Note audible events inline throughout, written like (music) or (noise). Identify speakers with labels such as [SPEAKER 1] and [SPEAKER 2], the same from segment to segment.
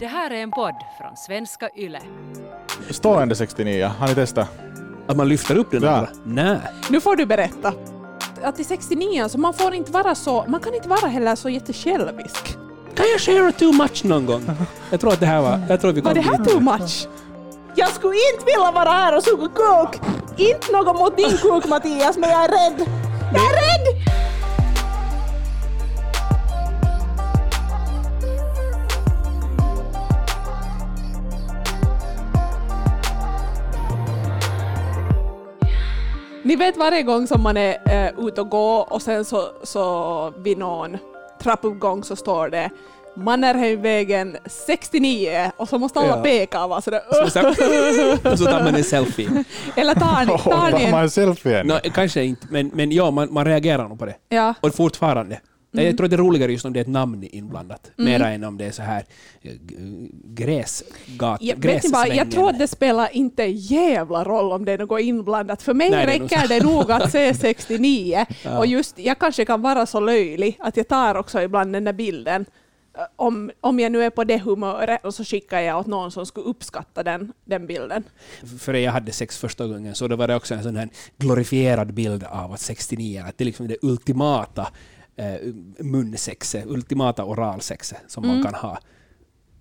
[SPEAKER 1] Det här är en podd från svenska YLE.
[SPEAKER 2] Stående 69, har ni testat?
[SPEAKER 3] Att man lyfter upp den
[SPEAKER 2] Ja.
[SPEAKER 3] andra? Nej.
[SPEAKER 4] Nu får du berätta. Att i 69 så man får inte vara så, man kan inte vara heller så jättesjälvisk.
[SPEAKER 3] Kan jag share too much någon gång? Jag tror att det här var... Jag tror att vi
[SPEAKER 4] Var
[SPEAKER 3] kom
[SPEAKER 4] det här
[SPEAKER 3] dit.
[SPEAKER 4] too much? Jag skulle inte vilja vara här och suga kuk. Inte något mot din kuk Mattias, men jag är rädd. Jag är rädd! Ni vet varje gång som man är eh, ute och går och sen så, så vid någon trappuppgång så står det Mannerheimvägen 69 och så måste alla
[SPEAKER 3] Ja.
[SPEAKER 4] peka och vara sådär
[SPEAKER 3] Och så, och så tar man en selfie.
[SPEAKER 4] Eller tar
[SPEAKER 3] (laughs)
[SPEAKER 4] ni, tar
[SPEAKER 2] Tar
[SPEAKER 4] ni
[SPEAKER 2] man
[SPEAKER 4] en?
[SPEAKER 2] en selfie än?
[SPEAKER 3] No, kanske inte, men, men ja, man, man reagerar nog på det.
[SPEAKER 4] Ja.
[SPEAKER 3] Och fortfarande. Jag tror att det är roligare just om det är ett namn inblandat.
[SPEAKER 4] Mm.
[SPEAKER 3] Mera än om det är så här eh, g- gräsgat,
[SPEAKER 4] Jag, vet ni vad, jag tror att det spelar inte en jävla roll om det är något inblandat. För mig
[SPEAKER 3] Nej, det är nog
[SPEAKER 4] räcker
[SPEAKER 3] så.
[SPEAKER 4] det nog att
[SPEAKER 3] (laughs)
[SPEAKER 4] se 69.
[SPEAKER 3] Ja.
[SPEAKER 4] Och just, jag kanske kan vara så löjlig att jag tar också ibland den där bilden. eh, Om, om jag nu är på det humöret och så skickar jag åt någon som skulle uppskatta den, den bilden.
[SPEAKER 3] Före jag hade sex första gången så då var det också en sån här glorifierad bild av att 69 att det är liksom det ultimata eh, munsexet, ultimata oralsexet som
[SPEAKER 2] Mm.
[SPEAKER 3] man kan ha.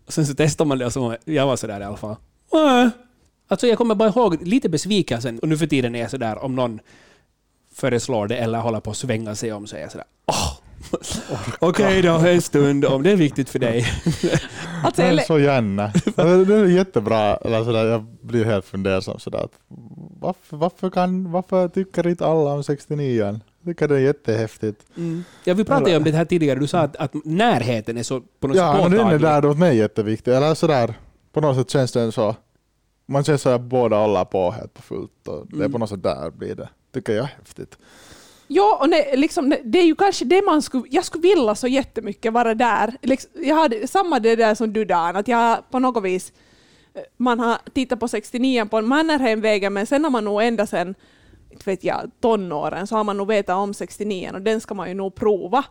[SPEAKER 3] Och sen så testar man det och så, jag var sådär i alla fall. "Äh." Alltså jag kommer bara ihåg lite besvikelsen och nu för tiden är jag sådär om någon föreslår det eller håller på att svänga sig om så är jag sådär åh! Okej då, en stund om det är viktigt för dig.
[SPEAKER 4] Alltså,
[SPEAKER 2] Jag är
[SPEAKER 4] eller,
[SPEAKER 2] så gärna. Alltså, Det är jättebra. Eller sådär, jag blir helt fundersam sådär. att Varför, varför, kan, varför tycker inte alla om 69an? Jag tycker det är jättehäftigt.
[SPEAKER 3] Ja, vi pratade ju om det här tidigare, du sa att, att närheten är så på något
[SPEAKER 2] Ja,
[SPEAKER 3] sätt
[SPEAKER 2] men den är
[SPEAKER 3] påtaglig.
[SPEAKER 2] där åt mig jätteviktig. Eller sådär, på något sätt känns den så. Man känner så att båda alla på helt på fullt. Och det är på något sätt där blir det, tycker jag, är häftigt.
[SPEAKER 4] Ja, och nej, liksom, det är ju kanske det man skulle... Jag skulle vilja så jättemycket vara där. Liksom, jag hade samma det där som du Dan, att jag på något vis... eh, Man har tittat på 69 på Mannerheimvägen, men sen har man nog ända sen inte vet jag, tonåren så har man nog vetat om 69 och den ska man ju nog prova.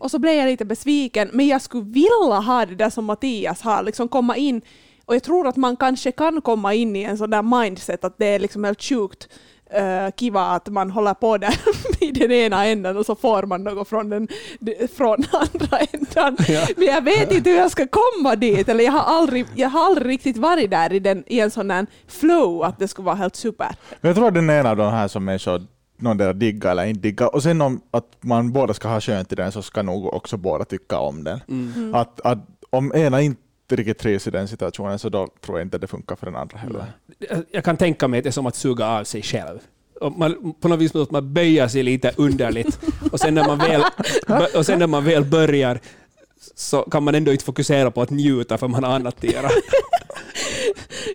[SPEAKER 4] Och så blev jag lite besviken, men jag skulle vilja ha det där som Mattias har, liksom komma in. Och jag tror att man kanske kan komma in i en sån där mindset att det är liksom helt sjukt eh, kiva att man håller på där (laughs) i den ena änden och så får man något från den från (laughs) andra änden.
[SPEAKER 3] (laughs) Ja.
[SPEAKER 4] Men jag vet inte hur jag ska komma dit, eller jag har aldrig, jag har aldrig riktigt varit där i, den, i en sån där flow att det skulle vara helt super.
[SPEAKER 2] Men Jag tror att den är en av de här som människor någondera diggar eller inte diggar. Och sen om att man båda ska ha skönt i den så ska nog också båda tycka om den.
[SPEAKER 3] Mm.
[SPEAKER 4] Mm.
[SPEAKER 2] Att, att om ena inte riktigt trivs i den situationen så då tror jag inte det funkar för den andra heller.
[SPEAKER 3] Eh, jag kan tänka mig att det är som att suga av sig själv. Och man, på något vis måste man böja sig lite underligt och sen när man väl, och sen när man väl börjar så kan man ändå inte fokusera på att njuta för man har annat att göra.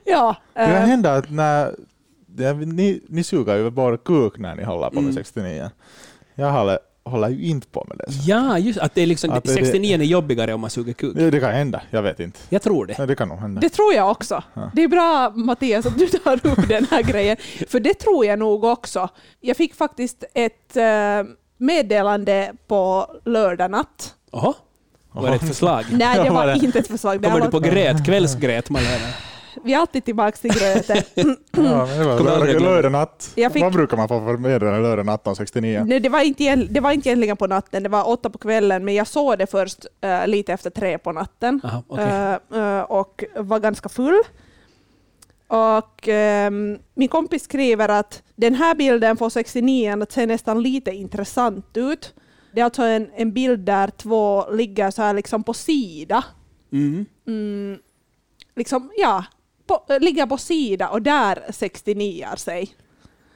[SPEAKER 4] Ja,
[SPEAKER 2] Det kan
[SPEAKER 4] eh,
[SPEAKER 2] hända att när, det, ni, ni suger ju bara kuk när ni håller på
[SPEAKER 3] Mm.
[SPEAKER 2] med 69. Jag håller, håller ju inte på med det. så.
[SPEAKER 3] Ja, just att det är liksom,
[SPEAKER 2] Att det-
[SPEAKER 3] 69 är jobbigare om man suger kuk.
[SPEAKER 2] Det, det kan hända, jag vet inte.
[SPEAKER 3] Jag tror det.
[SPEAKER 2] Nej, det kan nog hända.
[SPEAKER 4] det tror jag också. Det är bra Mattias att du tar
[SPEAKER 3] (laughs)
[SPEAKER 4] upp den här grejen, för det tror jag nog också. Jag fick faktiskt ett eh, meddelande på lördag natt.
[SPEAKER 3] Jaha, var det ett förslag? (laughs)
[SPEAKER 4] Nej, det
[SPEAKER 2] Ja,
[SPEAKER 4] var
[SPEAKER 2] det-
[SPEAKER 4] inte ett förslag. Det här
[SPEAKER 3] Kommer du på
[SPEAKER 4] var,
[SPEAKER 3] grät, kvällsgrät Malena?
[SPEAKER 4] vi är alltid tillbaka till gröten.
[SPEAKER 2] Ja, men det var
[SPEAKER 3] Kommer aldrig
[SPEAKER 2] lördag,
[SPEAKER 3] glömma.
[SPEAKER 2] lördag natt.
[SPEAKER 4] Jag fick- Mm.
[SPEAKER 2] Vad brukar man få för meddelande lördag natt om 69?
[SPEAKER 4] Nej, det, var inte, egent- det var inte egentligen på natten, det var åtta på kvällen, men jag såg det först eh, lite efter tre på natten.
[SPEAKER 3] Aha, okej.
[SPEAKER 4] Eh, eh, och var ganska full. Och ehm, min kompis skriver att den här bilden får 69 att se nästan lite intressant ut. Det är alltså en, en bild där två ligger så här liksom på sida.
[SPEAKER 3] Mm.
[SPEAKER 4] Mm, liksom, ja, på, eh, ligger på sida och där 69 sig.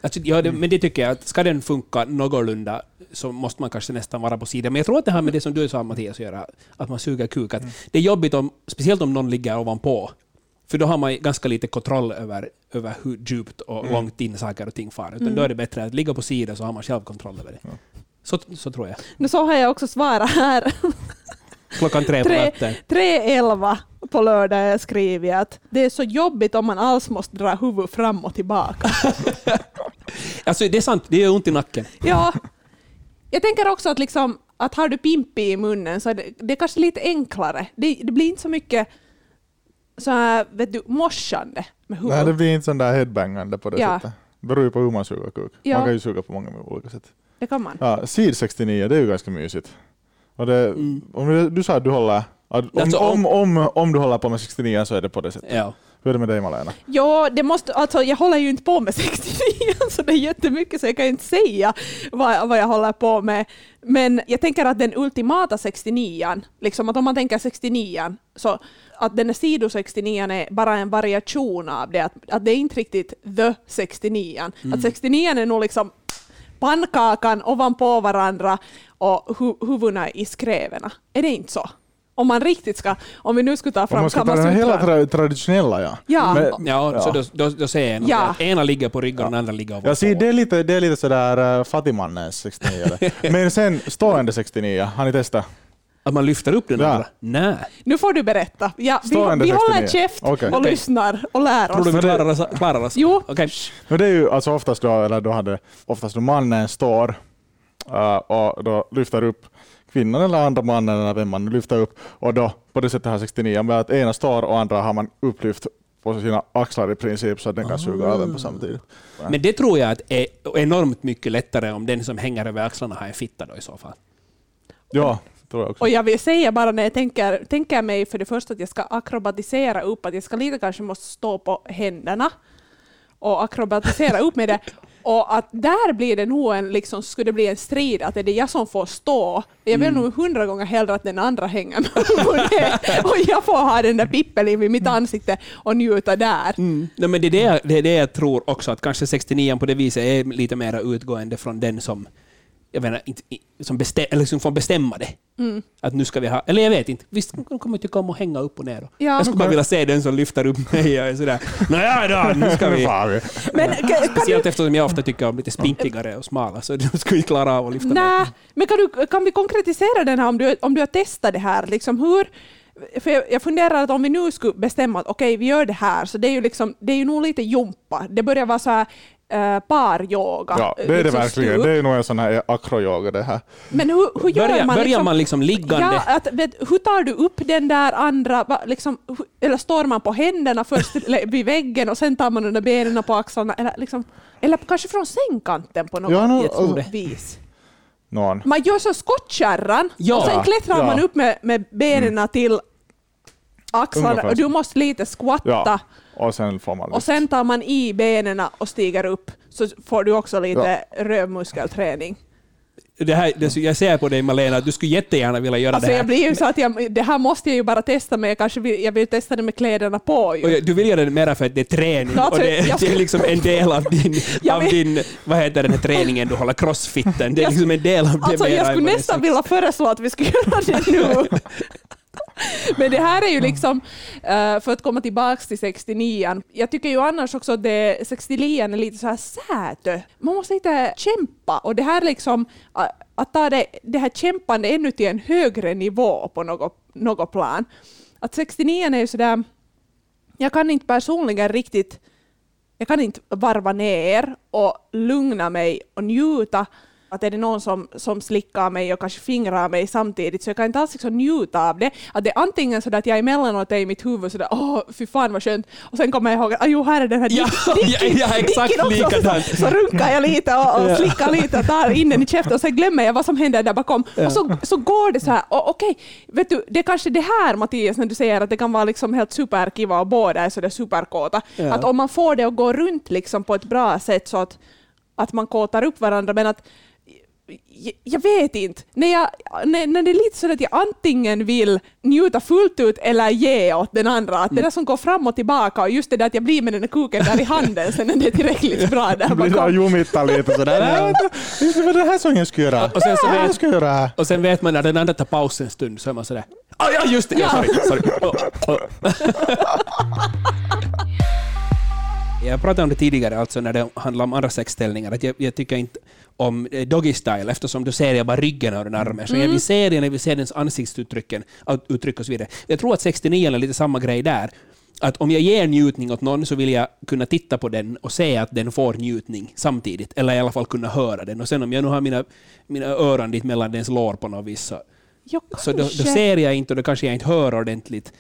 [SPEAKER 3] Alltså, ja, det, men det tycker jag, att ska den funka någorlunda så måste man kanske nästan vara på sidan. Men jag tror att det här med det som du sa Mattias, att göra, att man suger kuk, att det är jobbigt om, speciellt om någon ligger ovanpå, för då har man ganska lite kontroll över, över hur djupt och långt in saker och ting far. Utan då är det bättre att ligga på sidan så har man själv kontroll över det. Så, så tror jag.
[SPEAKER 4] Nu så har jag också svarat här.
[SPEAKER 3] Klockan tre på
[SPEAKER 4] Tre.
[SPEAKER 3] natten.
[SPEAKER 4] 3.11 på lördag skriver jag att det är så jobbigt om man alls måste dra huvudet fram och tillbaka.
[SPEAKER 3] Alltså det är sant, det gör ont i nacken.
[SPEAKER 4] Ja. Jag tänker också att, liksom, att har du pimpi i munnen så är det, det är kanske lite enklare. Det, det blir inte så mycket så här, vet du, morsande med huvudet.
[SPEAKER 2] Nej, det blir inte sån där headbangande på det
[SPEAKER 4] Ja.
[SPEAKER 2] sättet. Det beror ju på hur man suger kuk.
[SPEAKER 4] Ja.
[SPEAKER 2] Man kan ju suga på många olika sätt.
[SPEAKER 4] det kan man.
[SPEAKER 2] niin, Ja, sid 69, det är ju ganska mysigt. Och det,
[SPEAKER 3] Mm.
[SPEAKER 2] om du, du sa att du håller... Att om,
[SPEAKER 3] Alltså, om-
[SPEAKER 2] om, om, om du håller på med 69 så är det på det sättet.
[SPEAKER 3] Ja.
[SPEAKER 2] Hur är det med dig Malena?
[SPEAKER 4] Ja, det måste, alltså, jag håller ju inte på med (laughs) 69 så det är jättemycket så jag kan ju inte säga vad, vad jag håller på med. Men jag tänker att den ultimata 69 liksom att om man tänker 69 så att den här sido 69 är bara en variation av det, att, att det är inte riktigt the 69
[SPEAKER 2] Mm.
[SPEAKER 4] Att 69 är nog liksom pannkakan ovanpå varandra och hu, huvudena i skrävena. Är det inte så? Om man riktigt ska, om vi nu skulle ta fram
[SPEAKER 2] Om man ska ta den
[SPEAKER 4] Kama
[SPEAKER 2] här hela
[SPEAKER 4] Sutran.
[SPEAKER 2] tra- traditionella ja.
[SPEAKER 4] Ja.
[SPEAKER 2] Men-
[SPEAKER 3] Ja, så då, då, då säger jag nog
[SPEAKER 4] Ja.
[SPEAKER 3] att ena ligger på ryggen och den andra ligger
[SPEAKER 2] Jag ser,
[SPEAKER 3] ovanpå.
[SPEAKER 2] det är lite, det är lite sådär uh, fattigmannens 69. Men sen stående 69, har ni testat?
[SPEAKER 3] Att man lyfter upp den
[SPEAKER 2] Ja.
[SPEAKER 3] andra? Nej.
[SPEAKER 4] Nu får du berätta. Ja, vi,
[SPEAKER 2] Stående
[SPEAKER 4] vi
[SPEAKER 2] 69.
[SPEAKER 4] håller käft
[SPEAKER 2] Okej.
[SPEAKER 4] och
[SPEAKER 2] Okej.
[SPEAKER 4] lyssnar och lär
[SPEAKER 3] Tror
[SPEAKER 4] oss.
[SPEAKER 3] du vi
[SPEAKER 2] Men det-
[SPEAKER 3] klarar oss? Klarar oss?
[SPEAKER 4] Jo.
[SPEAKER 3] Okej.
[SPEAKER 2] Men det är ju alltså oftast då, eller då hade, oftast då mannen står eh, och då lyfter upp kvinnan eller andra mannen eller vem man nu lyfter upp och då på det sättet har 69 med att ena står och andra har man upplyft på sina axlar i princip så att den kan suga av en på samtidigt.
[SPEAKER 3] Men det tror jag att är enormt mycket lättare om den som hänger över axlarna har en fitta då i så fall.
[SPEAKER 2] Ja, tror jag också.
[SPEAKER 4] Och jag vill säga bara när jag tänker, tänker mig för det första att jag ska akrobatisera upp, att jag ska lite kanske måste stå på händerna och akrobatisera upp med det.
[SPEAKER 3] (laughs)
[SPEAKER 4] Och att där blir det nog en, liksom, skulle det bli en strid, att är det jag som får stå? Jag vill
[SPEAKER 3] Mm.
[SPEAKER 4] nog hundra gånger hellre att den andra hänger med (laughs) på det. Och jag får ha den där pippeln i mitt ansikte och njuta där.
[SPEAKER 3] Nej, men det, är det, jag- det är det jag tror också, att kanske 69 på det viset är lite mer utgående från den som, jag menar, inte, i- som, bestäm, eller som får bestämma det.
[SPEAKER 4] Mm.
[SPEAKER 3] Att nu ska vi ha... Eller jag vet inte. Visst, de kommer tycka om att hänga upp och ner. Då.
[SPEAKER 4] Ja.
[SPEAKER 3] Jag skulle bara vilja se den som lyfter upp mig och är sådär ”Nåja då, nu ska
[SPEAKER 4] (laughs)
[SPEAKER 3] vi...”
[SPEAKER 2] Fan, vi-
[SPEAKER 3] (laughs)
[SPEAKER 4] Men kan, kan du
[SPEAKER 3] Speciellt eftersom jag ofta tycker om lite spinkigare och smala, så de skulle ju klara av att lyfta
[SPEAKER 4] Nej,
[SPEAKER 3] mig.
[SPEAKER 4] men kan, du, kan vi konkretisera den här om du, om du har testat det här? Liksom hur, för jag, jag funderar att om vi nu skulle bestämma att okej, vi gör det här, så det är ju, liksom, det är ju nog lite jumpa. Det börjar vara så här eh, paryoga.
[SPEAKER 2] Ja, det är det
[SPEAKER 4] liksom
[SPEAKER 2] verkligen.
[SPEAKER 4] stup.
[SPEAKER 2] Det är nog en sån här akroyoga det här.
[SPEAKER 4] Men hur, hur gör
[SPEAKER 3] Börjar man,
[SPEAKER 4] man?
[SPEAKER 3] börjar man liksom liggande?
[SPEAKER 4] Ja, att, vet, hur tar du upp den där andra, va, liksom, hu- eller står man på händerna först (laughs) eller vid väggen och sen tar man under benen på axlarna? Eller, liksom, eller kanske från sängkanten på något
[SPEAKER 2] Ja, nå-
[SPEAKER 3] Jag tror det.
[SPEAKER 4] vis?
[SPEAKER 2] Någon.
[SPEAKER 4] Man gör så skottkärran
[SPEAKER 3] Ja.
[SPEAKER 4] och sen klättrar
[SPEAKER 2] Ja. Mm.
[SPEAKER 4] man upp med, med benen till axlarna
[SPEAKER 2] Ungefär
[SPEAKER 4] och
[SPEAKER 2] så.
[SPEAKER 4] du måste lite squatta.
[SPEAKER 2] Ja. Och sen får man
[SPEAKER 4] Och sen tar man i benen och stiger upp så får du också lite rövmuskelträning.
[SPEAKER 3] Det här, det, jag ser på dig Malena att du skulle jättegärna vilja göra
[SPEAKER 4] Alltså
[SPEAKER 3] det här.
[SPEAKER 4] jag blir ju så att jag, det här måste jag ju bara testa men jag kanske vill, jag vill testa det med kläderna på ju.
[SPEAKER 3] Och jag- du vill göra det mera för att det är träning
[SPEAKER 4] Ja,
[SPEAKER 3] och det,
[SPEAKER 4] jag-
[SPEAKER 3] det är liksom en del av din,
[SPEAKER 4] (laughs) Jag
[SPEAKER 3] av
[SPEAKER 4] vet.
[SPEAKER 3] din vad heter den här träningen du håller, crossfitten. Det är
[SPEAKER 4] Jag-
[SPEAKER 3] liksom en del av det
[SPEAKER 4] Alltså
[SPEAKER 3] mera
[SPEAKER 4] jag
[SPEAKER 3] än
[SPEAKER 4] skulle
[SPEAKER 3] vad det är
[SPEAKER 4] nästan
[SPEAKER 3] sex.
[SPEAKER 4] vilja föreslå att vi ska (laughs) göra det nu. Men det här är ju liksom, eh, för att komma tillbaka till 69 jag tycker ju annars också att det, 69 är lite så här sätö. Man måste lite kämpa och det här liksom, eh, att ta det, det här kämpande ännu till en högre nivå på något, något plan. Att 69 är ju sådär, jag kan inte personligen riktigt jag kan inte varva ner och lugna mig och njuta. Att är det någon som, som slickar mig och kanske fingrar mig samtidigt så jag kan inte alls liksom njuta av det. Att det är antingen så att jag emellanåt är i mitt huvud sådär åh fy fan vad skönt och sen kommer jag ihåg att "Ah, jo här är den här
[SPEAKER 3] Ja,
[SPEAKER 4] dicken-
[SPEAKER 3] ja, ja, exakt
[SPEAKER 4] dicken också."
[SPEAKER 3] likadant.
[SPEAKER 4] Så, så runkar jag lite och, och slickar lite och tar in den i käften och sen glömmer jag vad som händer där bakom. Och så, så går det så här och okej, vet du det är kanske det här Mattias när du säger att det kan vara liksom helt superkiva och båda är sådär superkåta.
[SPEAKER 3] Ja.
[SPEAKER 4] Att om man får det att gå runt liksom på ett bra sätt så att, att man kåtar upp varandra. Men att jag, jag vet inte. När, jag, när, när det är lite så att jag antingen vill njuta fullt ut eller ge åt den andra. Att
[SPEAKER 2] Mm.
[SPEAKER 4] Det där som går fram och tillbaka och just det där att jag blir med den där kuken där i handen sen när det är tillräckligt bra
[SPEAKER 2] (laughs) (laughs)
[SPEAKER 4] där
[SPEAKER 2] blir det
[SPEAKER 4] bakom.
[SPEAKER 2] ljummittar lite sådär. Nej, Det det var det här som jag skulle göra.
[SPEAKER 3] Och sen så
[SPEAKER 2] Det här
[SPEAKER 3] vet-
[SPEAKER 2] ska jag göra.
[SPEAKER 3] Och sen vet man när den andra tar paus en stund så är man sådär ah, ja just det, ja, sorry, sorry.
[SPEAKER 4] (laughs)
[SPEAKER 3] Oh, oh. Jag pratade om det tidigare, alltså när det handlar om andra sexställningar, att jag, jag tycker inte om eh, doggy style eftersom då ser jag bara ryggen av den armen. Så jag vill se den, jag vill se dens ansiktsuttrycken, ut- uttryck och så vidare. Jag tror att 69 är lite samma grej där. Att om jag ger njutning åt någon så vill jag kunna titta på den och se att den får njutning samtidigt. Eller i alla fall kunna höra den. Och sen om jag nu har mina, mina öron dit mellan dens lår på något vis så,
[SPEAKER 4] Jo,
[SPEAKER 3] så då, då
[SPEAKER 4] kanske.
[SPEAKER 3] ser jag inte och då kanske jag inte hör ordentligt.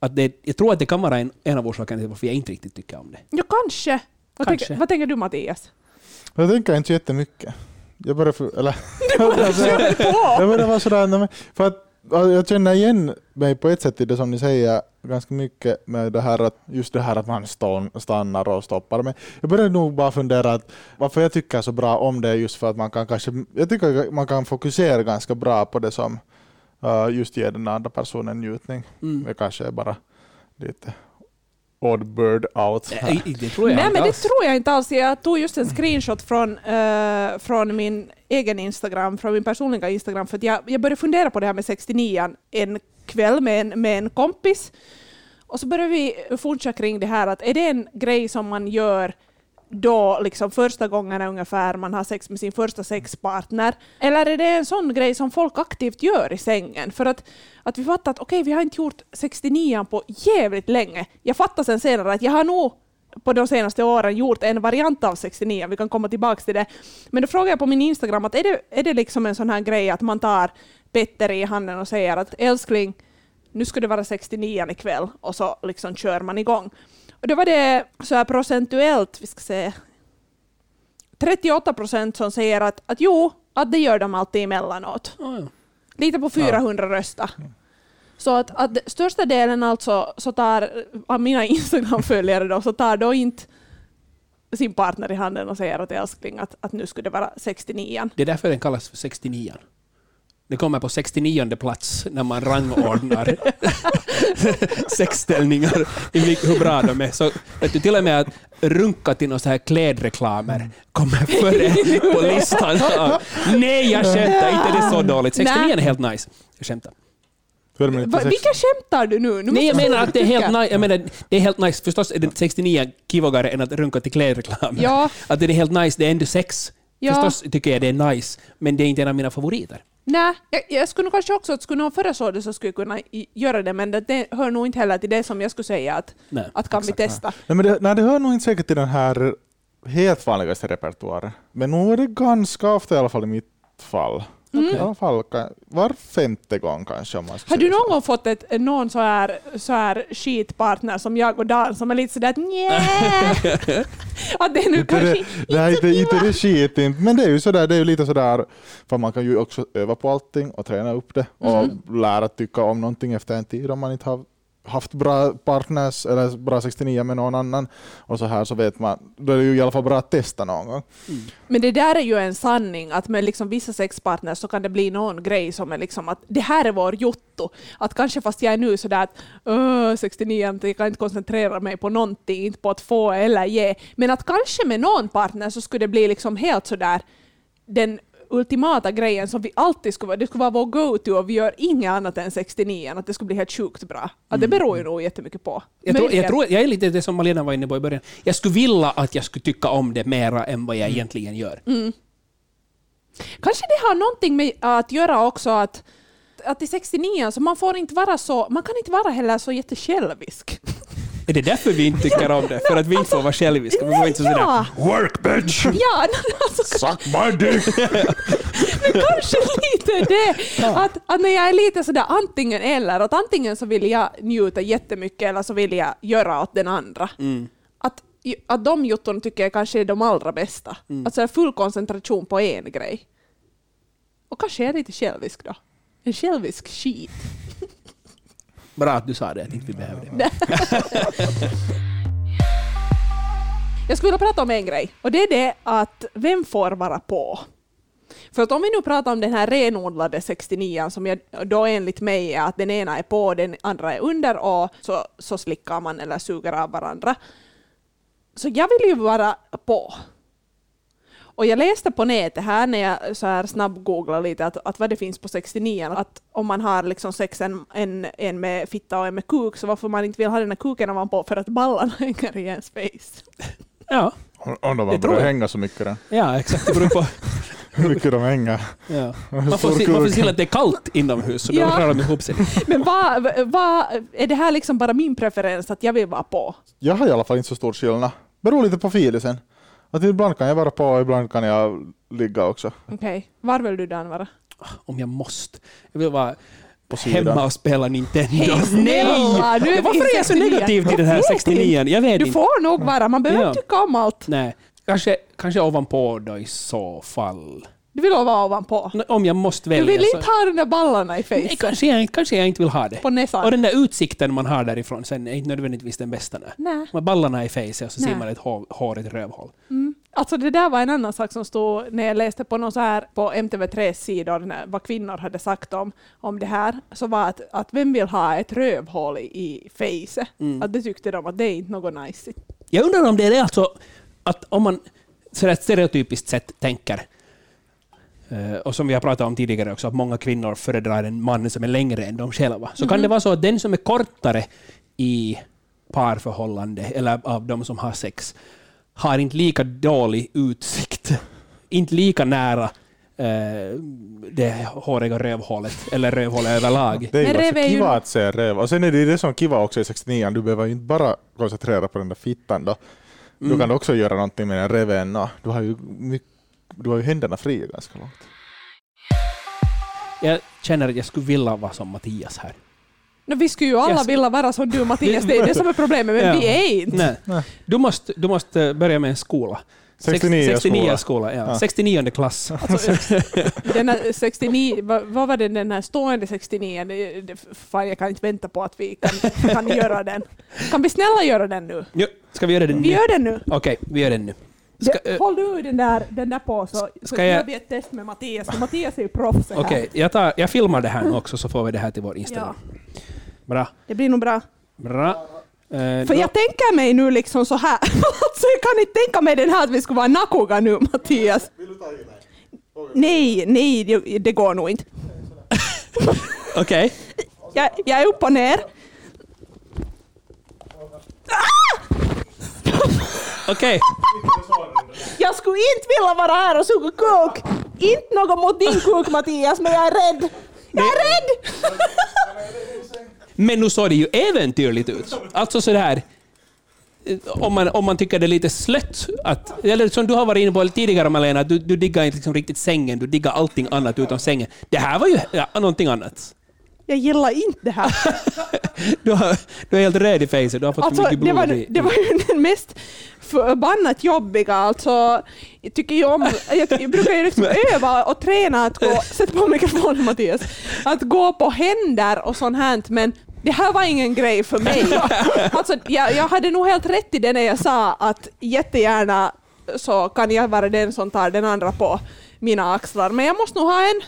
[SPEAKER 3] Att det, jag tror att det kan vara en, en av orsakerna till varför jag inte riktigt tycker om det.
[SPEAKER 4] Ja, kanske. Vad,
[SPEAKER 3] Kanske.
[SPEAKER 4] Tänker, vad tänker du Mattias?
[SPEAKER 2] Jag tänker inte jättemycket. Jag börjar, för,
[SPEAKER 4] (laughs)
[SPEAKER 2] eller, (laughs) jag
[SPEAKER 4] Kör på!
[SPEAKER 2] börjar vara sådär, nej, men för att alltså, jag känner igen mig på ett sätt i det som ni säger ganska mycket med det här att just det här att man stå- stannar och stoppar. Men jag börjar nog bara fundera att varför jag tycker så bra om det är just för att man kan kanske, jag tycker man kan fokusera ganska bra på det som eh, just ger den andra personen njutning.
[SPEAKER 3] Mm.
[SPEAKER 2] Det kanske är bara lite odd bird out.
[SPEAKER 4] Eh,
[SPEAKER 2] här.
[SPEAKER 3] Nej, Eh, det tror jag
[SPEAKER 4] Nej
[SPEAKER 3] inte
[SPEAKER 4] men det
[SPEAKER 3] alls.
[SPEAKER 4] tror jag inte alls. Jag tog just en screenshot från, eh, från min egen Instagram, från min personliga Instagram, för att jag, jag började fundera på det här med 69an en kväll med en, med en kompis. Och så började vi fortsätta kring det här att är det en grej som man gör då liksom första gången ungefär man har sex med sin första sexpartner? Eller är det en sån grej som folk aktivt gör i sängen? För att, att vi fattar att okej, vi har inte gjort 69an på jävligt länge. Jag fattar sen senare att jag har nog på de senaste åren gjort en variant av 69, vi kan komma tillbaka till det. Men då frågade jag på min Instagram att är det, är det liksom en sån här grej att man tar Petter i handen och säger att älskling, nu ska det vara 69 ikväll och så liksom kör man igång. Och då var det så här procentuellt, vi ska se, 38 procent som säger att, att jo, att det gör de alltid emellanåt.
[SPEAKER 3] Ja, ja.
[SPEAKER 4] Lite på 400 rösta. Så att, att största delen alltså, så tar, av mina (laughs) Instagram-följare då, så tar då inte sin partner i handen och säger att älskling, att, att nu skulle det vara 69
[SPEAKER 3] Det är därför den kallas för 69 Det kommer på 69 plats när man rangordnar (laughs) sexställningar, i vilk- hur bra de är. Så vet du, till och med att runka till några så här klädreklamer kommer före på listan. av- Nej, jag skämtar. Inte det är så dåligt. 69 är helt nice. Jag skämtar.
[SPEAKER 2] För min
[SPEAKER 4] Va,
[SPEAKER 2] sex-
[SPEAKER 4] vilka skämtar du nu? nu
[SPEAKER 3] Nej, jag
[SPEAKER 4] måste
[SPEAKER 3] menar att det är
[SPEAKER 4] tycka.
[SPEAKER 3] helt nice. Jag menar, det är helt nice. Förstås är det 69 kivogare än att runka till klädreklamer.
[SPEAKER 4] Ja,
[SPEAKER 3] Att det är helt nice, det är ändå sex.
[SPEAKER 4] Ja.
[SPEAKER 3] Förstås tycker jag det är nice, men det är inte en av mina favoriter.
[SPEAKER 4] nej, jag, jag skulle nog kanske också, att skulle någon föreslå det så skulle jag kunna i- göra det, men det, det hör nog inte heller till det som jag skulle säga att,
[SPEAKER 3] Nej,
[SPEAKER 4] att kan
[SPEAKER 3] exakt.
[SPEAKER 4] vi testa.
[SPEAKER 2] Nej, men det, nej, det hör nog inte säkert till den här helt vanligaste repertoaren. Men nog är det ganska ofta i alla fall i mitt fall.
[SPEAKER 4] Mm.
[SPEAKER 2] I alla fall ka- var femte gång kanske. Om man ska
[SPEAKER 4] Har du
[SPEAKER 2] säga så.
[SPEAKER 4] någon gång fått ett, någon så här, så här skitpartner som jag och Dan som är lite sådär att nja,
[SPEAKER 3] (laughs)
[SPEAKER 4] att det är nu
[SPEAKER 2] Inte
[SPEAKER 4] kanske
[SPEAKER 2] det, det här,
[SPEAKER 4] inte så
[SPEAKER 2] inte, inte
[SPEAKER 4] kiva.
[SPEAKER 2] det skit inte, men det är ju sådär, det är ju lite sådär, för man kan ju också öva på allting och träna upp det och
[SPEAKER 4] Mm-hmm.
[SPEAKER 2] lära tycka om någonting efter en tid om man inte har haft bra partners eller bra 69 med någon annan och så här så vet man, då är det ju i alla fall bra att testa någon gång.
[SPEAKER 4] Men det där är ju en sanning att med liksom vissa sexpartners så kan det bli någon grej som är liksom att det här är vår jotto. Att kanske fast jag är nu sådär att "Åh, 69 jag kan inte koncentrera mig på någonting, inte på att få eller ge. Men att kanske med någon partner så skulle det bli liksom helt sådär den ultimata grejen som vi alltid skulle vara, det skulle vara vår go-to och vi gör inget annat än 69 att det skulle bli helt sjukt bra. Att det beror ju nog jättemycket på.
[SPEAKER 3] Mm. Jag, tror, jag,
[SPEAKER 4] Möjligen.
[SPEAKER 3] tror, jag är lite det som Malena var inne på i början. Jag skulle vilja att jag skulle tycka om det mera än vad jag
[SPEAKER 4] Mm.
[SPEAKER 3] egentligen gör.
[SPEAKER 4] Kanske det har någonting med att göra också att, att i 69 så man får inte vara så, man kan inte vara heller så jättesjälvisk.
[SPEAKER 3] Är det därför vi inte tycker om det? För att vi inte får vara själviska? Vi får inte sådär,
[SPEAKER 4] ja,
[SPEAKER 2] Work bitch!
[SPEAKER 4] ja (laughs) alltså,
[SPEAKER 2] Suck my dick!
[SPEAKER 4] kanske lite det. Att, att när jag är lite sådär antingen eller, att antingen så vill jag njuta jättemycket eller så vill jag göra åt den andra.
[SPEAKER 3] Mm.
[SPEAKER 4] Att, att de jotton tycker jag kanske är de allra bästa.
[SPEAKER 3] Mm.
[SPEAKER 4] Att så här full koncentration på en grej. Och kanske jag är lite självisk då. En självisk skit.
[SPEAKER 3] Bra att du sa det, jag tänkte vi behöver det.
[SPEAKER 4] Jag skulle vilja prata om en grej och det är det att vem får vara på? För att om vi nu pratar om den här renodlade 69 som jag då enligt mig är att den ena är på den andra är under och så, så slickar man eller suger av varandra. Så jag vill ju vara på. Och jag läste på nätet här när jag så här snabbgooglade lite att, att vad det finns på 69 att om man har liksom sex en, en, en med fitta och en med kuk så varför man inte vill ha den här kuken ovanpå för att ballarna (laughs) hänger i ens face.
[SPEAKER 3] Ja,
[SPEAKER 2] Om- Om de
[SPEAKER 3] Det
[SPEAKER 2] bara
[SPEAKER 3] tror
[SPEAKER 2] börjar
[SPEAKER 3] jag.
[SPEAKER 2] hänga så mycket, då.
[SPEAKER 3] ja exakt. Det beror på.
[SPEAKER 2] (laughs) hur mycket de hänger.
[SPEAKER 3] Ja.
[SPEAKER 2] Hur
[SPEAKER 3] Man får,
[SPEAKER 2] stor
[SPEAKER 3] se, man får
[SPEAKER 2] kuk.
[SPEAKER 3] se till att det är kallt inomhus, så då
[SPEAKER 4] Ja.
[SPEAKER 3] rör de ihop sig.
[SPEAKER 4] Men vad, vad, är det här liksom bara min preferens att jag vill vara på?
[SPEAKER 2] Jag har i alla fall inte så stor skillnad. Beror lite på filisen. Att ibland kan jag vara på och ibland kan jag ligga också.
[SPEAKER 4] Okej, var vill du Dan vara?
[SPEAKER 3] Om jag måste. Jag vill vara
[SPEAKER 2] på sidan.
[SPEAKER 3] hemma och spela Nintendo.
[SPEAKER 4] Hej,
[SPEAKER 3] (laughs)
[SPEAKER 4] snälla, nu är
[SPEAKER 3] Ja,
[SPEAKER 4] vi
[SPEAKER 3] Varför är jag så
[SPEAKER 4] 69?
[SPEAKER 3] negativ till den här
[SPEAKER 4] Jag vet
[SPEAKER 3] 69 Jag vet
[SPEAKER 4] Du
[SPEAKER 3] inte.
[SPEAKER 4] får nog vara, man behöver
[SPEAKER 3] Ja.
[SPEAKER 4] inte tycka om allt.
[SPEAKER 3] Nej. Kanske, kanske ovanpå då i så fall.
[SPEAKER 4] Du vill vara ovanpå.
[SPEAKER 3] Nå, Om jag måste välja.
[SPEAKER 4] Du vill
[SPEAKER 3] så...
[SPEAKER 4] inte ha de där ballarna i
[SPEAKER 3] alltså. Nej,
[SPEAKER 4] fejsen.
[SPEAKER 3] kanske, jag, kanske jag inte vill ha det.
[SPEAKER 4] På näsan.
[SPEAKER 3] Och den där utsikten man har därifrån sen är inte nödvändigtvis den bästa. Nej.
[SPEAKER 4] Nej.
[SPEAKER 3] Man ballarna i face och så ser
[SPEAKER 4] Nej.
[SPEAKER 3] man ett hår, hårigt rövhål.
[SPEAKER 4] Alltså det där var en annan sak som stod när jag läste på någon så här på MTV3 sidor när, vad kvinnor hade sagt om, om det här. Så var att, att vem vill ha ett rövhål i, i face?
[SPEAKER 3] Mm.
[SPEAKER 4] Att det tyckte de att det är inte något nice.
[SPEAKER 3] Jag undrar om det är alltså att om man sådär stereotypiskt sett tänker, eh, och som vi har pratat om tidigare också, att många kvinnor föredrar en man som är längre än de själva. Så kan det vara så att den som är kortare i parförhållande, eller av de som har sex, har inte lika dålig utsikt, (laughs) inte lika nära eh, det håriga rövhålet, eller rövhålet överlag.
[SPEAKER 2] Det är
[SPEAKER 4] Men
[SPEAKER 2] ju
[SPEAKER 4] rev
[SPEAKER 2] alltså
[SPEAKER 4] är ju-
[SPEAKER 2] kiva att se rev. Och sen är det ju det som är kiva också i 69 Du behöver ju inte bara koncentrera på den där fittan då. Du
[SPEAKER 3] Mm.
[SPEAKER 2] kan också göra någonting med den reven. och Du har ju, my- du har ju händerna fria ganska långt.
[SPEAKER 3] Jag känner att jag skulle vilja vara som Mattias här.
[SPEAKER 4] No, vi skulle ju alla
[SPEAKER 3] Yes.
[SPEAKER 4] vilja vara som du Mattias, det är det som är problemet, men
[SPEAKER 3] Ja.
[SPEAKER 4] vi är inte.
[SPEAKER 3] Nej.
[SPEAKER 2] Nej.
[SPEAKER 3] Du, måste, du måste börja med en skola.
[SPEAKER 2] 69
[SPEAKER 3] Sex- 69
[SPEAKER 2] skola.
[SPEAKER 3] skola ja.
[SPEAKER 2] Ja.
[SPEAKER 3] 69 klass.
[SPEAKER 4] Alltså, den här 69, vad, vad var det den här stående 69? Det- det- Fan, jag kan inte vänta på att vi kan, kan göra den. Kan vi snälla göra den nu?
[SPEAKER 3] Jo, ska vi göra den
[SPEAKER 4] Vi
[SPEAKER 3] nu?
[SPEAKER 4] gör den nu.
[SPEAKER 3] Okej, vi gör den nu. Ska,
[SPEAKER 4] Det-
[SPEAKER 3] eh,
[SPEAKER 4] Håll du den där, den där på så,
[SPEAKER 3] ska
[SPEAKER 4] så
[SPEAKER 3] jag-
[SPEAKER 4] gör vi ett test med Mattias. Och Mattias är ju proffs här.
[SPEAKER 3] Okej, jag, tar- jag filmar det här nu också så får vi det här till vår
[SPEAKER 4] Ja,
[SPEAKER 3] Instagram. Bra.
[SPEAKER 4] det blir nog bra.
[SPEAKER 3] Bra. Eh,
[SPEAKER 4] För
[SPEAKER 3] då-
[SPEAKER 4] jag tänker mig nu liksom så här. (laughs) alltså, jag kan inte tänka mig den här att vi skulle vara nakoga nu Mattias. Nej, nej, det- det går nog inte.
[SPEAKER 3] Okej.
[SPEAKER 4] Jag, jag är upp och ner.
[SPEAKER 3] Okej.
[SPEAKER 4] Jag skulle inte vilja vara här och suga kuk. Inte något mot din kuk Mattias, men jag är rädd. Jag är rädd!
[SPEAKER 3] Men nu såg det ju äventyrligt ut. Alltså sådär... eh, Om man, om man tycker det är lite slött att... Eller som du har varit inne på tidigare Malena, att du, du diggar inte liksom riktigt sängen, du diggar allting annat utom sängen. Det här var ju ja, någonting annat.
[SPEAKER 4] Jag gillar inte det här.
[SPEAKER 3] Du, har, du är helt röd i fejset, du har fått
[SPEAKER 4] Alltså,
[SPEAKER 3] för mycket
[SPEAKER 4] det,
[SPEAKER 3] blod
[SPEAKER 4] var,
[SPEAKER 3] i.
[SPEAKER 4] det var ju den mest förbannat jobbiga. Alltså, jag, tycker ju om, jag, jag brukar ju liksom öva och träna att gå, sätt på mikrofonen Mattias, att gå på händer och sånt här, men det här var ingen grej för mig. Alltså, jag, jag hade nog helt rätt i det när jag sa att jättegärna så kan jag vara den som tar den andra på mina axlar, men jag måste nog ha en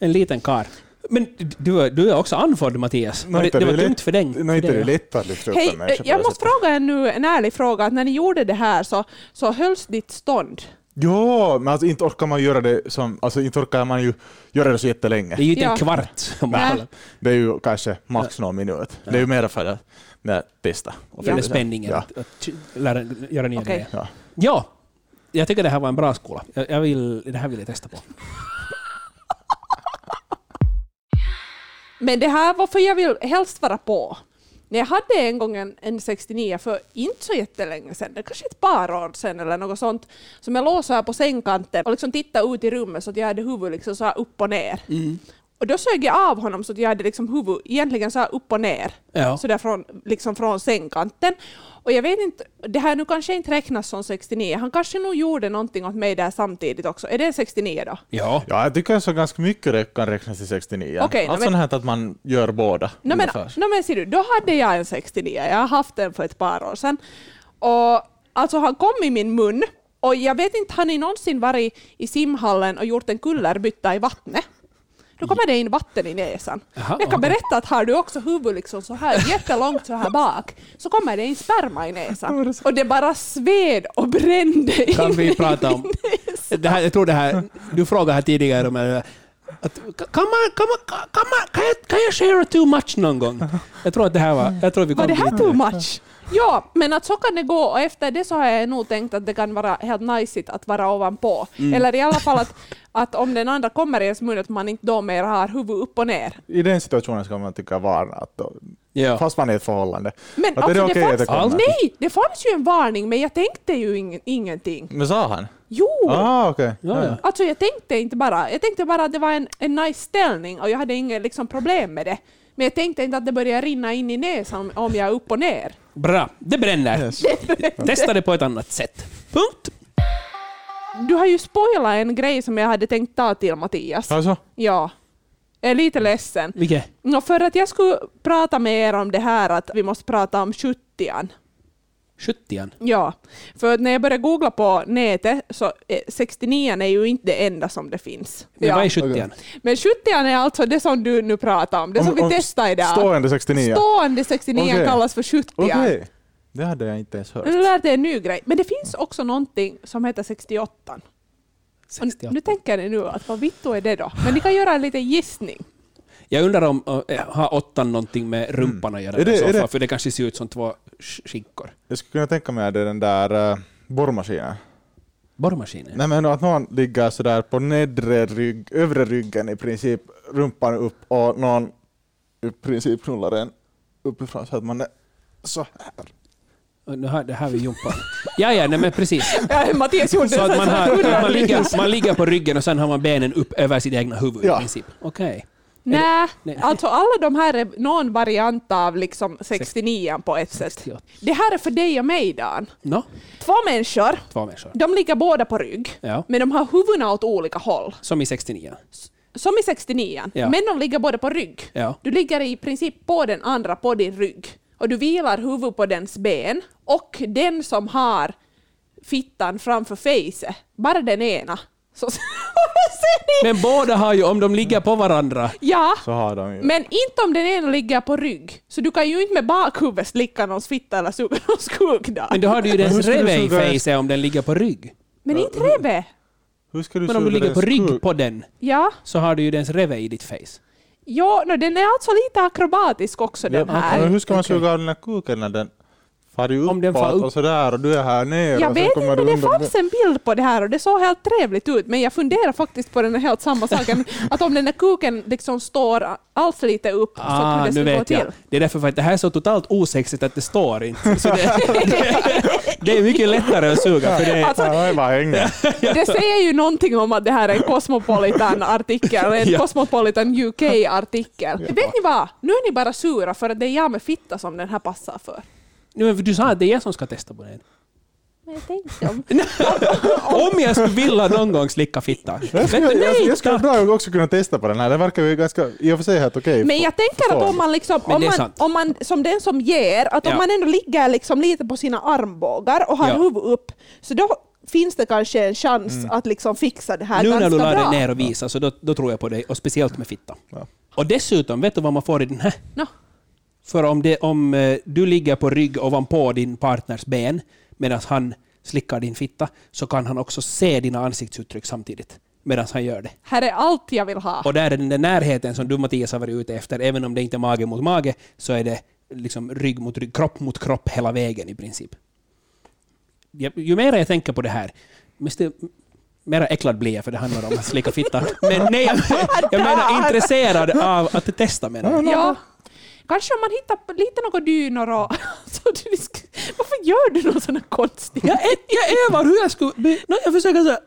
[SPEAKER 3] En liten kar. Men du, är- du är också andfådd Mattias.
[SPEAKER 2] Nå,
[SPEAKER 3] Var det,
[SPEAKER 2] inte
[SPEAKER 3] det var
[SPEAKER 2] är lätt-
[SPEAKER 3] tungt för dig.
[SPEAKER 2] nå, inte
[SPEAKER 3] för
[SPEAKER 2] det är
[SPEAKER 3] dig.
[SPEAKER 2] lätt att lyfta upp en
[SPEAKER 4] Hej,
[SPEAKER 2] människa
[SPEAKER 4] eh,
[SPEAKER 2] på
[SPEAKER 4] jag
[SPEAKER 2] det
[SPEAKER 4] måste
[SPEAKER 2] sättet.
[SPEAKER 4] fråga er nu en ärlig fråga, att när ni gjorde det här så, så hölls ditt stånd?
[SPEAKER 2] Ja, men alltså, inte orkar man göra det som... Alltså inte orkar man ju göra det så jättelänge.
[SPEAKER 3] Det är ju inte
[SPEAKER 4] Ja.
[SPEAKER 3] en kvart. om man
[SPEAKER 4] Nej.
[SPEAKER 3] kollar.
[SPEAKER 2] Det är ju kanske max någon minut. Det är ju mer för att nej, testa. Och
[SPEAKER 3] För
[SPEAKER 2] se.
[SPEAKER 3] den spänningen.
[SPEAKER 2] Ja.
[SPEAKER 3] Att, att lära, göra nya
[SPEAKER 4] Okej.
[SPEAKER 3] grejer.
[SPEAKER 2] Ja.
[SPEAKER 3] Ja, jag tycker det här var en bra skola. Jag, jag vill, det här vill jag testa på.
[SPEAKER 4] Men det här var för jag vill helst vara på. När jag hade en gång en, en 69 för inte så jättelänge sedan, det kanske ett par år sedan eller något sånt, som jag låg så här på sängkanten och liksom tittade ut i rummet så att jag hade huvudet liksom så här upp och ner.
[SPEAKER 2] Mm.
[SPEAKER 4] Och då sög jag av honom så att jag hade liksom huvudet egentligen så här upp och ner.
[SPEAKER 3] Ja.
[SPEAKER 4] Så där från, liksom från sängkanten. Och jag vet inte, det här nu kanske inte räknas som 69, han kanske nog gjorde någonting åt mig där samtidigt också. Är det en 69 då?
[SPEAKER 3] Ja.
[SPEAKER 2] Ja, jag tycker så ganska mycket det kan räknas till 69.
[SPEAKER 4] Okej,
[SPEAKER 2] Allt
[SPEAKER 4] men-
[SPEAKER 2] sånt här att man gör båda.
[SPEAKER 4] No, men,
[SPEAKER 2] ungefär.
[SPEAKER 4] no, men ser du, då hade jag en 69. Jag har haft den för ett par år sedan. Och, alltså han kom i min mun och jag vet inte, har ni någonsin varit i simhallen och gjort en kullerbytta i vattnet? Då kommer det in vatten i näsan.
[SPEAKER 3] Jaha,
[SPEAKER 4] jag kan
[SPEAKER 3] okej.
[SPEAKER 4] berätta att har du också huvudet liksom så här jättelångt så här bak så kommer det in sperma i näsan. Och det bara sved och brände in
[SPEAKER 3] Kan vi
[SPEAKER 4] i
[SPEAKER 3] prata om...
[SPEAKER 4] (laughs) min näsa.
[SPEAKER 3] Det här, jag tror det här... Du frågade här tidigare om... eh, Att, kan, man, kan, man, kan, man, kan, jag, kan jag share too much någon gång? Jag tror att det här var... Jag tror att vi
[SPEAKER 4] Var
[SPEAKER 3] kom
[SPEAKER 4] det här
[SPEAKER 3] dit.
[SPEAKER 4] too much? Ja, men att så kan det gå och efter det så har jag nog tänkt att det kan vara helt najsigt att vara ovanpå.
[SPEAKER 2] Mm.
[SPEAKER 4] Eller i alla fall att, att om den andra kommer i ens mun att man inte då mer har huvud upp och ner.
[SPEAKER 2] I den situationen ska man tycka varna att då,
[SPEAKER 3] Ja.
[SPEAKER 2] Fast man är i ett förhållande.
[SPEAKER 4] Men
[SPEAKER 2] Att är det
[SPEAKER 4] alltså, det
[SPEAKER 2] okej att det
[SPEAKER 4] fanns,
[SPEAKER 2] kommer?
[SPEAKER 4] nej, det fanns ju en varning, men jag tänkte ju ing, ingenting.
[SPEAKER 2] Men sa han?
[SPEAKER 4] Jo!
[SPEAKER 2] Ah, okej.
[SPEAKER 3] Ja, ja.
[SPEAKER 4] Alltså jag tänkte inte bara, jag tänkte bara att det var en, en nice ställning och jag hade inga liksom, problem med det. Men jag tänkte inte att det började rinna in i näsan om jag är upp och ner.
[SPEAKER 3] Bra, det bränner.
[SPEAKER 2] Yes.
[SPEAKER 3] (laughs) Testa det på ett annat sätt. Punkt.
[SPEAKER 4] Du har ju spoilat en grej som jag hade tänkt ta till Mattias.
[SPEAKER 2] Alltså?
[SPEAKER 4] Ja. Jag är lite ledsen.
[SPEAKER 3] Vilket?
[SPEAKER 4] Nå, för att jag skulle prata med er om det här att vi måste prata om 70
[SPEAKER 3] 70
[SPEAKER 4] Ja, för att när jag började googla på nätet så eh, 69 är ju inte det enda som det finns.
[SPEAKER 3] Men
[SPEAKER 4] ja.
[SPEAKER 3] vad är 70
[SPEAKER 4] Men 70 är alltså det som du nu pratar om, det som
[SPEAKER 2] Om- om
[SPEAKER 4] vi testade idag.
[SPEAKER 2] Stående 69?
[SPEAKER 4] Stående 69
[SPEAKER 2] Okej.
[SPEAKER 4] kallas för 70
[SPEAKER 2] Okej. Det hade jag inte ens hört.
[SPEAKER 4] Nu lärde jag en ny grej. Men det finns också någonting som heter 68. Och
[SPEAKER 3] 68.
[SPEAKER 4] Nu tänker ni nu att vad vittu är det då? Men ni kan göra en liten
[SPEAKER 3] (laughs)
[SPEAKER 4] gissning.
[SPEAKER 3] Jag undrar om äh, har åttan någonting med rumpan att göra
[SPEAKER 2] Mm. Är det-
[SPEAKER 3] i så
[SPEAKER 2] är det-
[SPEAKER 3] fall, för det kanske ser ut som två sk- skinkor.
[SPEAKER 2] Jag skulle kunna tänka mig att det är den där uh, borrmaskinen.
[SPEAKER 3] Borrmaskinen?
[SPEAKER 2] Nej men att någon ligger sådär på nedre rygg, övre ryggen i princip, rumpan upp och någon i princip knullar en uppifrån så att man är så här.
[SPEAKER 3] Och Nu har, det här är jumpan. Ja, ja, nej,
[SPEAKER 2] (laughs)
[SPEAKER 3] men precis.
[SPEAKER 4] Ja, Mattias gjorde
[SPEAKER 3] Så att man, har, man,
[SPEAKER 4] det.
[SPEAKER 3] ligger, man ligger på ryggen och sen har man benen upp över sitt egna huvud i
[SPEAKER 2] Ja.
[SPEAKER 3] princip. Okej.
[SPEAKER 4] Nej,
[SPEAKER 3] Nej.
[SPEAKER 4] alltså alla de här är någon variant av liksom 69 på ett sätt.
[SPEAKER 3] 68.
[SPEAKER 4] Det här är för dig och mig Dan.
[SPEAKER 3] Nå,
[SPEAKER 4] Två människor,
[SPEAKER 3] två människor.
[SPEAKER 4] de ligger båda på rygg,
[SPEAKER 3] Ja.
[SPEAKER 4] men de har huvudena åt olika håll.
[SPEAKER 3] Som i 69.
[SPEAKER 4] Som i 69
[SPEAKER 3] Ja.
[SPEAKER 4] men de ligger båda på rygg.
[SPEAKER 3] Ja.
[SPEAKER 4] Du ligger i princip på den andra på din rygg och du vilar huvudet på dens ben och den som har fittan framför face, bara den ena. Så, (laughs) ser ni?
[SPEAKER 3] Men båda har ju, om de ligger på varandra,
[SPEAKER 4] Ja,
[SPEAKER 2] Så har de ju.
[SPEAKER 4] men inte om den ena ligger på rygg. Så du kan ju inte med bakhuvudet slicka någons fitta eller suga (laughs) någons kuk där.
[SPEAKER 3] men då har du ju dens
[SPEAKER 2] hur ska du
[SPEAKER 3] reve i
[SPEAKER 2] suga ens-
[SPEAKER 3] face om den ligger på rygg.
[SPEAKER 4] Men inte reve.
[SPEAKER 2] Hur ska du
[SPEAKER 3] Men om du
[SPEAKER 2] suga
[SPEAKER 3] ligger på
[SPEAKER 2] dens
[SPEAKER 3] rygg
[SPEAKER 2] kuk?
[SPEAKER 3] på den
[SPEAKER 4] Ja,
[SPEAKER 3] så har du ju dens reve i ditt face.
[SPEAKER 4] ja no, den är alltså lite akrobatisk också den
[SPEAKER 2] Ja,
[SPEAKER 4] här.
[SPEAKER 2] men hur ska man
[SPEAKER 3] Okej.
[SPEAKER 2] suga av den här kuken när den far ju
[SPEAKER 3] Om den
[SPEAKER 2] uppåt
[SPEAKER 3] far upp.
[SPEAKER 2] och sådär och du är här nere
[SPEAKER 4] Jag
[SPEAKER 2] och sen
[SPEAKER 4] vet
[SPEAKER 2] kommer
[SPEAKER 4] inte,
[SPEAKER 2] du
[SPEAKER 4] det
[SPEAKER 2] undan.
[SPEAKER 4] fanns en bild på det här och det såg helt trevligt ut, men jag funderar faktiskt på den här helt
[SPEAKER 3] (laughs)
[SPEAKER 4] samma saken, att om den där kuken liksom står alls lite upp så
[SPEAKER 3] Ah,
[SPEAKER 4] kunde det
[SPEAKER 3] nu
[SPEAKER 4] skulle gå
[SPEAKER 3] vet jag.
[SPEAKER 4] till.
[SPEAKER 3] Det är därför för att det här är så totalt osexigt att det står inte. Så det, det, det är mycket lättare att suga. För det är,
[SPEAKER 4] Alltså,
[SPEAKER 2] Ja, det bara hänger.
[SPEAKER 4] Det säger ju någonting om att det här är en Cosmopolitan-artikel, en
[SPEAKER 3] Ja.
[SPEAKER 4] Cosmopolitan UK-artikel. Vet ni vad? Nu är ni bara sura för att det är jag med fitta som den här passar för.
[SPEAKER 3] nu, men du sa att det är jag som ska testa på den.
[SPEAKER 4] Men jag tänkte om...
[SPEAKER 3] (laughs) Om jag skulle vilja någon gång slicka fitta.
[SPEAKER 2] Jag
[SPEAKER 3] Vet
[SPEAKER 2] skulle,
[SPEAKER 3] du,
[SPEAKER 2] jag,
[SPEAKER 3] nej,
[SPEAKER 2] jag skulle
[SPEAKER 3] tack.
[SPEAKER 2] bra nog också kunna testa på den här. Den verkar ju ganska, i och för sig helt okej.
[SPEAKER 4] Men jag tänker att om man, liksom,
[SPEAKER 3] Men
[SPEAKER 4] om,
[SPEAKER 3] det är
[SPEAKER 4] man,
[SPEAKER 3] sant.
[SPEAKER 4] om man som den som ger, att om
[SPEAKER 3] Ja.
[SPEAKER 4] man ändå ligger liksom lite på sina armbågar och har
[SPEAKER 3] Ja. Mm.
[SPEAKER 4] huvudet upp, så då finns det kanske en chans att liksom fixa det här
[SPEAKER 3] Nu
[SPEAKER 4] ganska
[SPEAKER 3] när du la dig
[SPEAKER 4] bra.
[SPEAKER 3] ner och visade, så då, då tror jag på dig. Och speciellt med fitta.
[SPEAKER 2] Ja.
[SPEAKER 3] Och dessutom, vet du vad man får i den här?
[SPEAKER 4] Nå.
[SPEAKER 3] För om, det, om eh, du ligger på rygg ovanpå din partners ben medan han slickar din fitta så kan han också se dina ansiktsuttryck samtidigt medan han gör det.
[SPEAKER 4] Här är allt jag vill ha.
[SPEAKER 3] Och där är den där närheten som du Mattias har varit ute efter, även om det inte är mage mot mage, så är det liksom rygg mot rygg, kropp mot kropp hela vägen i princip. Jag, ju mer jag tänker på det här, desto mer äcklad blir jag för det handlar om att slicka fitta. Men nej, jag, jag menar intresserad av att testa menar jag.
[SPEAKER 4] Ja. Kanske om man hittar på lite några dynor och... (laughs) Så du, sk- varför gör du något sånt här konstigt?
[SPEAKER 3] Jag, ä- jag övar hur jag skulle... Be, no, jag försöker så här-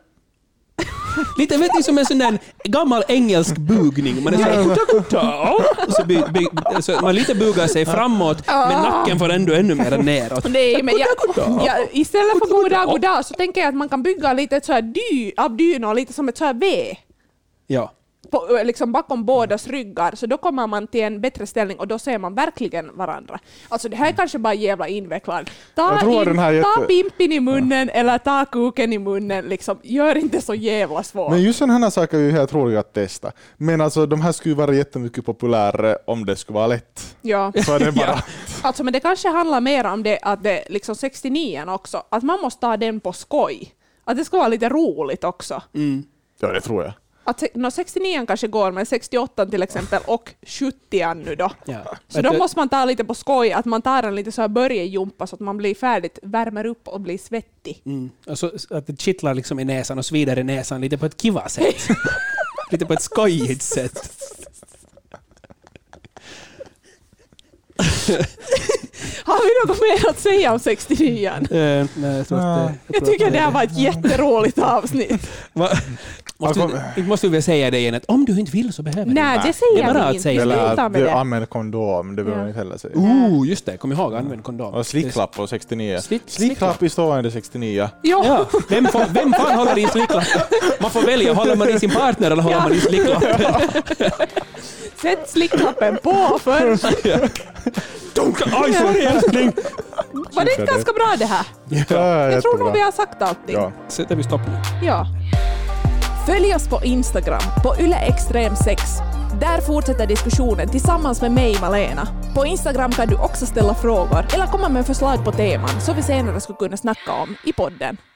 [SPEAKER 3] Lite vet ni som en sån där gammal engelsk bugning. Man är så här, "Gutta, gutta", och så by, by, så man lite bugar sig framåt, men nacken får ändå ännu mer neråt.
[SPEAKER 4] Nej, men jag,
[SPEAKER 3] Goddag.
[SPEAKER 4] jag, istället för god dag, god dag så tänker jag att man kan bygga lite ett så här dy, av dynor, lite som ett så här V.
[SPEAKER 3] Ja.
[SPEAKER 4] på, ö, liksom bakom bådas ryggar, så då kommer man till en bättre ställning och då ser man verkligen varandra. Alltså det här är kanske bara jävla invecklat. Ta,
[SPEAKER 2] Jag tror
[SPEAKER 4] in,
[SPEAKER 2] den här
[SPEAKER 4] ta
[SPEAKER 2] jätte-
[SPEAKER 4] pimpen i munnen eller ta kuken i munnen, liksom. gör inte så jävla svårt.
[SPEAKER 2] Men just sådana här saker är ju helt roliga att testa. Men alltså de här skulle ju vara jättemycket populärare om det skulle vara lätt.
[SPEAKER 4] Ja.
[SPEAKER 2] Så
[SPEAKER 4] (laughs)
[SPEAKER 2] är det bara.
[SPEAKER 4] Alltså, men det kanske handlar mer om det att det liksom 69 också, att man måste ta den på skoj. Att det ska vara lite roligt också.
[SPEAKER 2] Mm. Ja, det tror jag.
[SPEAKER 4] Att, se- no, 69 kanske går, men 68 till exempel och 70 nu då.
[SPEAKER 3] ja. eh,
[SPEAKER 4] Så då måste man ta lite på skoj, att man tar en lite så här börjejumpa så att man blir färdigt, värmer upp och blir svettig.
[SPEAKER 3] Mm. Och så, så att det kittlar liksom i näsan och svider i näsan lite på ett kiva sätt.
[SPEAKER 4] (laughs)
[SPEAKER 3] lite på ett skojigt sätt.
[SPEAKER 4] Har vi något mer att säga om 69
[SPEAKER 3] Eh, nej, jag tror att, eh,
[SPEAKER 4] Jag
[SPEAKER 3] tror att-
[SPEAKER 4] tycker det här var ett jätteroligt avsnitt.
[SPEAKER 3] Va? Måste, vi- måste vi väl säga det igen att om du inte vill så behöver du.
[SPEAKER 4] Nej, det
[SPEAKER 3] Det är
[SPEAKER 4] säger
[SPEAKER 3] bara
[SPEAKER 4] vi
[SPEAKER 3] att
[SPEAKER 4] inte.
[SPEAKER 3] säga.
[SPEAKER 2] Eller
[SPEAKER 4] Sluta
[SPEAKER 2] att
[SPEAKER 4] med
[SPEAKER 2] du
[SPEAKER 4] det.
[SPEAKER 2] använder kondom, det behöver
[SPEAKER 4] Ja.
[SPEAKER 2] man inte heller säga.
[SPEAKER 3] Oh, just det. Kom ihåg, använd kondom.
[SPEAKER 2] Och slicklapp på 69.
[SPEAKER 3] Slick-
[SPEAKER 2] Slicklapp i stående 69.
[SPEAKER 4] Ja.
[SPEAKER 3] Ja, vem, fa- vem fan håller i slicklappen? Man får välja, håller man i sin partner eller håller
[SPEAKER 4] Ja.
[SPEAKER 3] man i slicklappen?
[SPEAKER 4] (laughs) Sätt slicklappen på först.
[SPEAKER 3] Dunka! Aj, sorry älskling!
[SPEAKER 4] Var det inte ganska bra det här? Jag tror nog vi har sagt allting.
[SPEAKER 2] Ja.
[SPEAKER 3] Sätter vi stopp nu.
[SPEAKER 4] Ja. Följ oss på Instagram, på yleextrem6. Där fortsätter diskussionen tillsammans med mig, Malena. På Instagram kan du också ställa frågor eller komma med förslag på teman som vi senare skulle kunna snacka om i podden.